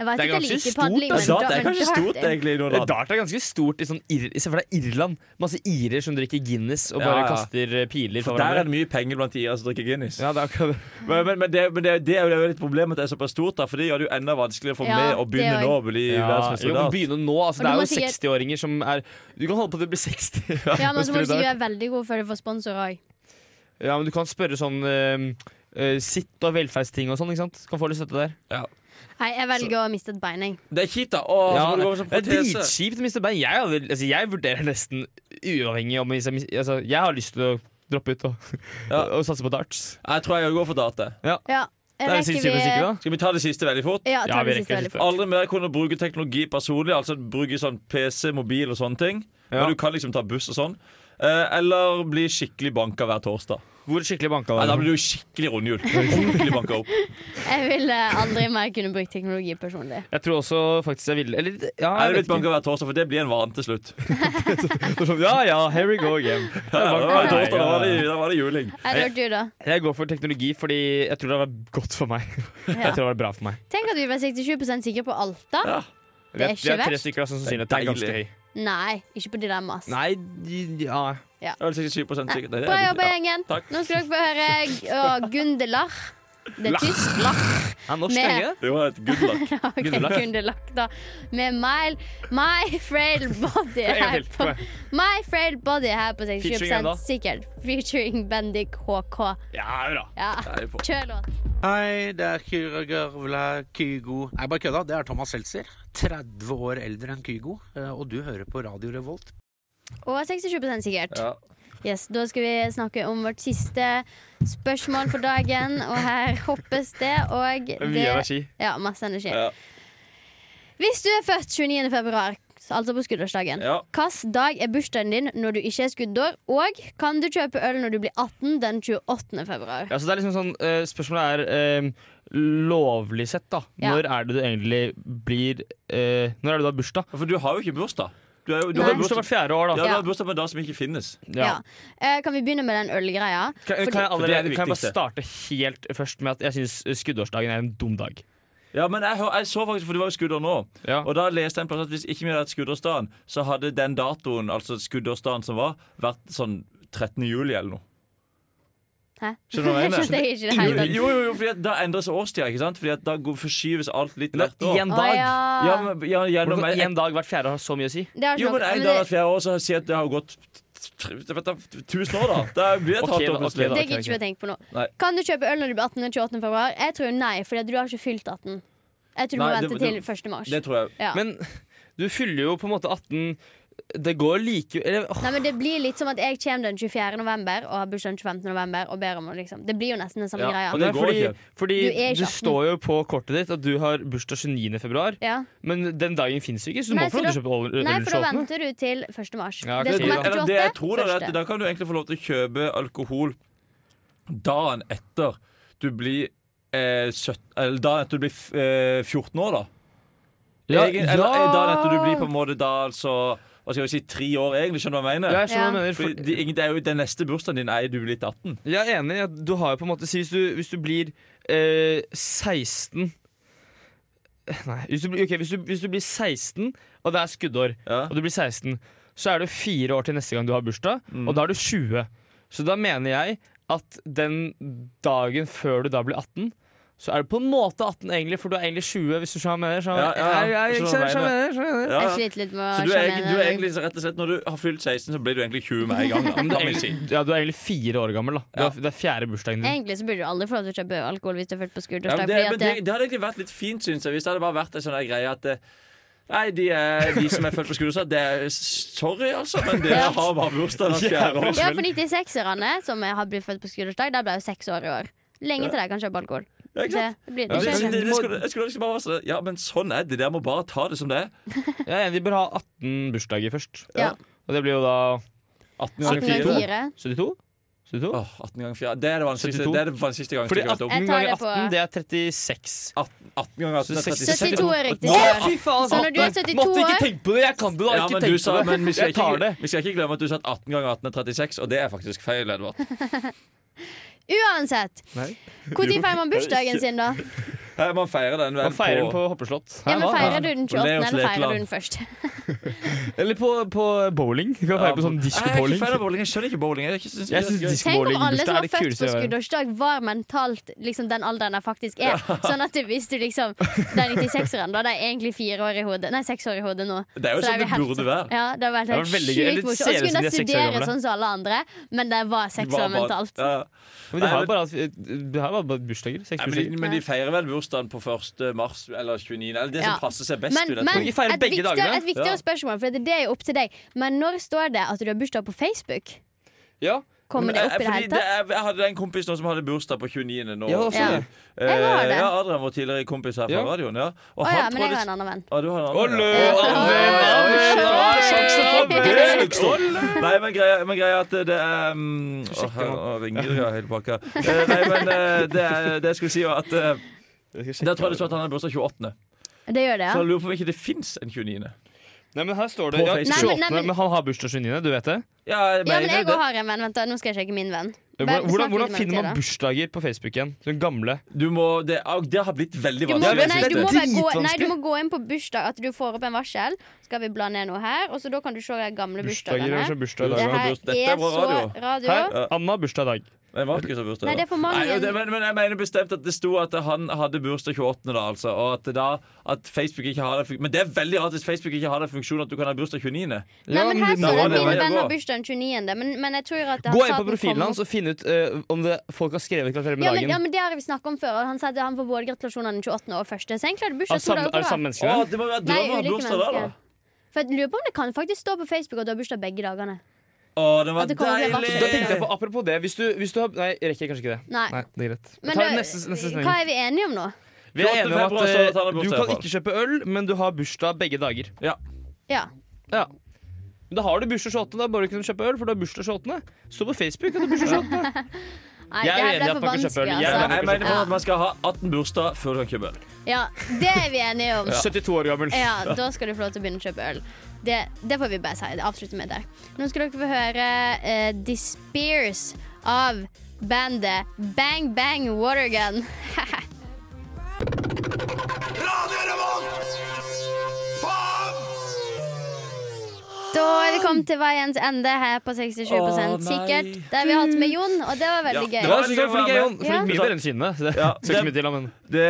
Jeg vet
Det er
ikke, jeg
ganske
liker
stort,
padling,
da.
men
Dart
da-
er
men
kanskje
dart
stort,
er-
egentlig. i noen land.
Eh, Dart er ganske stort. I sånn Ir Se for deg Irland. Masse irer som drikker Guinness og
Ja,
bare
ja.
kaster eh, piler fra
For der er det
hverandre.
mye penger blant de som drikker Guinness.
Ja, det er akkurat det.
Men, men, men, det, men det, det er jo litt problemet at det er såpass stort, da, for det gjør det jo enda vanskeligere for
Ja,
meg å
det
begynne
er jo-
nå å bli
Ja,
verdensmester i
jo, men
dart.
begynne nå. Altså,
Men
det
du
er
må
jo
sikkert-
60-åringer som er Du kan holde på til du blir 60.
Ja, men
og
så må
spille
du si du
dart.
er veldig god før du får sponsor òg.
ja, men du kan spørre sånn eh, eh, sitt og velferdsting og sånn. ikke sant? Kan få litt støtte der.
Hei, jeg velger å miste et bein, jeg.
Det er kjipt, da. Åh,
Ja,
så må du gå med sånn
det er
protese.
dritkjipt å miste bein. Jeg, hadde, altså, jeg vurderer nesten uavhengig om hvis jeg, mis- altså, Jeg har lyst til å droppe ut og,
Ja.
og, satse på darts.
Jeg tror jeg går for dart. jeg.
Ja,
Det er det siste musikk, da.
Skal vi ta det siste veldig fort?
Ja, ta
Ja, vi
det siste
rekker
veldig
siste.
fort.
Aldri mer kunne bruke teknologi personlig, altså bruke sånn PC, mobil og sånne ting.
Ja.
Men du kan liksom ta buss og sånn. Eh, eller bli skikkelig banka hver torsdag.
Hvor skikkelig banka
Nei, da
det?
blir du skikkelig rundhjul. Skikkelig banka opp.
Jeg ville aldri mer kunne brukt teknologi personlig.
Jeg tror også faktisk jeg ville Eller ja,
Nei,
jeg
det blir
vet ikke.
banka hver torsdag, for det blir en vane til slutt.
Ja ja, here we go again.
Ja, da var det
Nei,
torsdag, da var det,
ja.
da var det juling.
Er det du, da?
Jeg går for teknologi fordi jeg tror det har vært godt for meg. Jeg
Ja.
tror det har vært bra for meg.
Tenk at vi var 67 sikre på alt, da.
Ja.
Vi
Det er
er, vi er
ikke
tre
verst.
stykker da, som
Det er
sannsynlig at det er ganske høy.
deilig.
Nei, ikke på dilemmas.
Nei, de- ja
Jeg er vel 67
Nei.
sikker. Nei, det er
Bra
litt-
jobba, gjengen.
Takk.
Nå skal dere få høre G- å, Gundelach. Det er tysk. Lach.
Er norsk,
Med-
er det ikke det?
Det var et good luck.
Ok,
Gundelach.
Gundelach, da. Med my, my frail body
En gang
her
til.
på My frail body her på
Featuring hvem da?
67 sikkert. Featuring Bendik HK.
Ja, bra.
Ja,
Jeg er på.
kjør låt.
Hei, det er Kyra Garvla Kygo. Nei, bare kødda. Det er Thomas Seltzer. 30 år eldre enn Kygo. eh, Og du hører på Radio Revolt.
Og 67 sikkert.
Ja.
Yes, Da skal vi snakke om vårt siste spørsmål for dagen, og her hoppes det. Og
Det er Mye
det
energi.
Ja, masse energi.
Ja.
Hvis du er født 29. februar, altså på skuddersdagen,
Ja.
hvilken dag er bursdagen din når du ikke er skuddår, og kan du kjøpe øl når du blir 18 den 28. februar?
Ja, så det er liksom sånn, eh, spørsmålet er eh, lovlig sett, da.
Ja.
Når er det du egentlig blir eh, Når er det du har bursdag?
For du har jo ikke bursdag. Du, er, jo- du
Du
Nei.
har
har
jo
bursdag
bursdag,
hvert fjerde år,
ja,
da.
du har bursdag på en dag som ikke finnes.
Ja. Eh, kan vi begynne med den ølgreia?
Kan, kan,
Fordi-
jeg
For det er
allerede,
det
kan jeg bare
viktigste.
starte helt først med at jeg syns skuddårsdagen er en dum dag.
Ja, men jeg, hø- jeg så faktisk, for det var jo skudder nå.
Ja.
Og da leste jeg en plass at hvis ikke vi hadde hatt skuddårsdagen, så hadde den datoen, altså skuddårsdagen som var, vært sånn 13. juli eller noe.
Hæ?
Skjønner du hva jeg mener?
Skjønte jeg ikke det
Jo,
hele tatt.
jo, jo, fordi at da endres årstida, ikke sant? Fordi at da går- forskyves alt litt
Men
hvert år.
én
Å,
dag!
Ja,
ja.
men, ja, gjennom,
Hvordan kan
en,
én dag hvert fjerde år har så mye å si?
Det har ikke
jo,
noe-
men en
men
dag
det-
hvert fjerde år, så sier jeg at det har gått t- t- vet du, 1000 år, da. Da blir det et
Ok,
halvt
da,
år plutselig.
Det
ok, da.
gidder ikke vi å tenke på nå.
Nei.
Kan du kjøpe øl når du blir 18 og 28. februar? Jeg tror nei, for du har ikke fylt 18. Jeg tror du må
Nei, det-
vente
det-
til 1. mars.
Det tror jeg.
Ja.
Men du fyller jo på en måte 18 Det går like eller, åh,
Nei, men Det blir litt som at jeg kommer den 24. november og har bursdag den 25. november. Og ber om å liksom. Det blir jo nesten den samme
Ja, og
greia.
det
nei,
går
Fordi,
ikke.
fordi
Du er ikke
du
18.
står jo på kortet ditt at du har bursdag 29. februar,
Ja.
men den dagen fins jo ikke, så du
Nei,
må få
for
lov til å kjøpe øl-
Nei,
øl
for da
28.
venter du til 1. mars.
Ja,
det
ok.
skal være
Eller
28.
det jeg tror da, er at
første.
da kan du egentlig få lov til å kjøpe alkohol dagen etter du blir eh, 17 Eller dagen etter du blir f- eh, 14 år, da.
Ja,
Egen, Eller eh, dagen etter du
ja.
blir på en måte da altså Hva skal vi si, tre år, egentlig. Skjønner du hva jeg mener?
Ja, jeg skjønner hva du mener.
Fordi
For,
det, det er jo Den neste bursdagen din er jo du blir 18.
Jeg er enig. i at Du har jo på en måte si Hvis du, hvis du blir eh, 16 Nei, hvis du, blir- ok, hvis, du, hvis du blir 16, og det er skuddår,
Ja.
og du blir 16, så er det fire år til neste gang du har bursdag,
Mm.
og da er du 20. Så da mener jeg at den dagen før du da blir 18, så er du på en måte 18 egentlig, for du er egentlig 20 hvis du skjønner hva jeg mener. skjønner hva
Ja, ja,
jeg-
ja.
Jeg- jeg- jeg
Skjønner hva jeg
skjønner hva jeg mener, skjønner hva jeg mener.
Ja,
Jeg
ja.
sliter litt med å
Så du er,
skjønne
egentlig- du er egentlig så rett og slett Når du har fylt 16, så blir du egentlig 20 med en gang. Da,
Men du
kan
er
vi si.
egentlig- Ja, du er egentlig fire år gammel. da Det er, det er fjerde bursdagen din.
Egentlig så burde du aldri få lov til å kjøpe alkohol hvis du er født på
Mm. Ja, men
skuldersdag.
det,
fordi
men
at
det,
det,
det hadde egentlig vært litt fint, syns jeg, hvis det hadde bare vært en sånn der greie at eh, Nei, de, er, de som er født på skuldra, det er sorry, altså, men dere har bare bursdag hvert fjerde år.
ja, for 96-erne som har blitt født på skuldersdag, de ble jo seks år i år. Lenge til de kan kjøpe alkohol.
Ja, ikke
Det
sant?
blir
Ja,
det
det,
skjer
det,
ikke.
det skulle, jeg skulle ønske bare var sånn Ja, men sånn er det. Dere må bare ta det som det er.
Jeg er enig, vi bør ha 18 bursdager først.
Ja.
Og det blir jo da
18
18
ganger
ganger
4.
4.
72? 72?
Åh, 18 ganger 4. Det er det vanskeligste,
72.
det er det vanskeligste gangen.
Fordi
jeg har vært opp.
18
Jeg tar
ganger
det på-
18, det er 36.
18, 18 ganger 18 er
76.
36.
72 er riktig.
Å,
svar.
fy faen!
Så når du er
Atten.
72
Måtte ikke
år-
tenke på det! Jeg kan det,
Ja,
da! ikke
men, du
tenk på
sa,
det.
men vi, skal
Jeg tar
ikke,
det.
vi skal ikke glemme at du sa at 18 ganger 18 er 36, og det er faktisk feil, Edvard.
Uansett. Når feirer man bursdagen sin, da?
Her, man feirer den vel
Man feirer den på hoppeslott.
Ja, men
Hva?
Feirer du den
På Leos
28., eller feirer
lekeland.
du den først?
Eller på, på bowling. Du kan feire på sånn
Jeg, er ikke
disco-bowling.
fan av bowling. jeg skjønner ikke bowling. Jeg, synes ikke det
Jeg
er
synes
gøy.
disco-
Tenk om
Skåling,
alle
bursdag
som
er
var
det
født
kuleste
på
jeg har.
skuddersdag, var mentalt liksom, den alderen de faktisk er. Sånn at du- hvis du liksom Den 96-eren, da de er egentlig fire år i hodet. Nei, seks år i hodet nå.
Det er jo
Så
sånn
er
det
vi helt-
burde være.
Ja, det har vært
Det
helt
var veldig gøy.
sjukt
Eller
morsomt. Og
ser
så
det ut som
kunne de
de er seks år
studere
gamle.
sånn som alle andre, men de var seks år
Bare-
mentalt.
Ja.
Men de har jo bare, hatt- de har jo bare bursdager. Seks
Nei, men, de,
bursdager.
men de feirer vel bursdagen på 1. mars eller 29. Eller det
Ja.
som passer seg best.
Men,
vil jeg
men
tro.
Vi feirer
et,
begge
viktigere,
dagene.
et
Ja.
viktigere spørsmål, for det er jo opp til deg. Men når står det at du har bursdag på Facebook?
Ja, eh,
Kommer det opp i det
Fordi
hele tatt?
er- Jeg hadde en kompis nå som hadde bursdag på 29. nå.
Ja, også
Ja.
det.
Eh,
Jeg har det.
ja, Adrian, vår tidligere kompis her fra
Ja.
radioen. Ja. Og
Å ja, men jeg
trodde-
har en annen venn.
Å, du har en annen,
Olle,
ja.
Olle,
Olle,
Olle,
Olle.
Olle,
Det er
Olle.
liksom- Nei, men greia, men greia er at det er um, Å,
Sjekke
her
nå.
å, ringer det ja, hele pakka. Eh, nei, men eh, det, er- det jeg skulle si, var at eh, Der tror jeg det står at han har bursdag 28.
Det gjør det,
Så jeg
ja.
lurer på om ikke det fins en 29.
Nei, men her står det
På
ja,
Facebook.
Nei, men-
28,
nei, men-
men han har bursdag 29., du vet det?
Ja, jeg
Ja, men
mener
jeg
det.
òg har en venn. Vent, da, nå skal jeg sjekke min venn. Bare
Hvordan,
snakk
hvordan,
litt
hvordan
med
finner
dere.
man bursdager på Facebook igjen? Den gamle.
Du må, det, au, det har blitt veldig
Du må,
vanskelig.
nei,
synes jeg.
du må, bare gå, nei, du
Dritvanskelig.
må gå inn på bursdag, at du får opp en varsel. Skal vi bla ned noe her? Og så Da kan du se de gamle
Bursdager
bursdagene.
eller så bursdag i
Det
dag.
her
Dette er
er
bra
så
radio.
radio.
Her, Anna har bursdag i dag.
Nei, Markus har bursdag.
Nei,
da.
det er for mange.
Nei, det, men, men jeg mener bestemt at det sto at han hadde bursdag 28. da, altså. Og at, da, at Facebook ikke har den fun- Men det er veldig rart hvis Facebook ikke har den funksjonen at du kan ha bursdag 29.
Nei, men
da
her står det
var det
at min
veien å
venn
gå.
har bursdag den 29., men, men jeg tror at han
Gå
sa
inn
at
på
den
profilen
kom
hans
opp-
og finn ut eh, om det, folk har skrevet gratulerer med
ja men, ja,
dagen.
men Det har vi snakket om før. og Han sa at han får både gratulasjoner den 28. og 1. Så egentlig har du
Er
bursdag
det
to
samme,
dager
er det
på rad.
samme menneske?
Å,
da?
det må være
Nei,
drømmen å ha
ulike
bursdag da, da.
mennesker. For jeg lurer på om det kan faktisk stå på Facebook at du har bursdag begge dagene.
Å, det var
At det kommer til å bli
deilig!
Da tenkte jeg på, apropos det hvis du, hvis du har, Nei, jeg rekker kanskje ikke det.
Nei.
Nei, det er greit.
Men
Jeg tar
du,
neste, neste sending.
hva er vi enige om nå?
Vi er
28.
enige om
februar, så
at
tar
eh,
det bursdag i
du
hvert
kan
fall.
ikke kjøpe øl, men du har bursdag begge dager.
Ja.
Ja men da har du bursdag 28. Da bør du kunne kjøpe øl, for du har bursdag 28. Stå på Facebook at du har bursdag 28.
Nei,
Jeg
det
er
her
enig i
ble
at
for
man kan kjøpe øl.
vanskelig,
Jeg er
altså.
Jeg mener bare at man skal ha 18 bursdag før du kan kjøpe øl.
Ja, det er vi enige om.
72 år gammel.
Ja, da skal du få lov til å begynne å kjøpe øl. Det, det får vi bare si. Det avslutter med der. Nå skal dere få høre eh, The Spears av bandet Bang Bang Watergun. Da er vi kommet til veiens ende her på 67
Å, nei.
sikkert. Der vi har hatt med Jon, og det var veldig
Ja,
gøy.
Det var så flink jeg, Jon.
Ja.
Flink mye bedre enn Synne. så det-
Ja,
Skal ikke
det-
mye til, da, men
Det,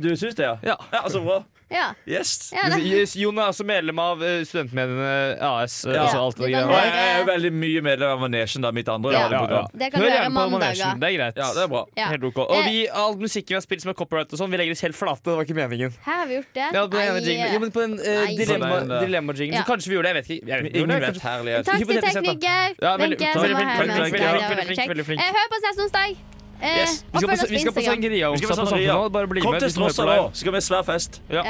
du syns det, ja?
Ja.
Så bra.
Ja.
Yes.
Ja, det.
Yes, Jon er også medlem av eh, Studentmediene AS. eh,
Ja.
Altså alt det
Ja,
Og
greiene.
det
jeg er jo veldig mye medlem av Manesjen, da, mitt andre
Ja.
radioprogram.
Det kan
Hør
du
gjerne
gjøre
på Manesjen,
mandager.
Det er greit.
Ja, det er bra.
Ja. Eh.
Helt ok. Og vi, all musikken vi har spilt som er copyright, og sånn, vi legger oss helt flate. Det var ikke meningen.
Her har vi gjort det.
Ja, på den ene
Nei.
jinglen. Jo, men på den eh,
Nei.
dilemma-
På den, eh,
dilemma-jinglen.
Ja.
Så kanskje vi gjorde det. Jeg vet ikke. Jeg vet ikke.
Ingen
Ingen
vet herlighet.
Takk til
Hypotetisk sett, da.
tekniker
Ja, veldig-
Wenche, som
takk,
var
veldig
her
flink,
med oss. Ja, det var
veldig flink, veldig
veldig
flink,
kjekt.
veldig flink.
Eh, Hør på oss neste onsdag. Eh,
Yes.
Vi
Og
skal
følg
på,
oss på
vi skal på
Instagram.
sangria
Vi
også
skal
på
på Sangria.
Samfunnet. Bare bli
Kom
med.
til
hvis du hører
Strossa
på
nå,
live.
så skal vi ha svær fest.
Ja.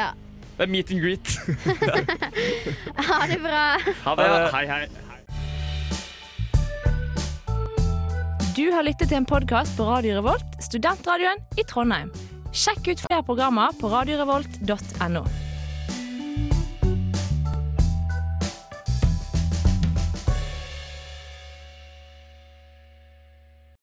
Det er meet and greet.
Ha det bra.
Ha det.
Ha det.
Hei, hei.
Du har lyttet til en podkast på Radio Revolt, studentradioen i Trondheim. Sjekk ut flere programmer på radiorevolt.no.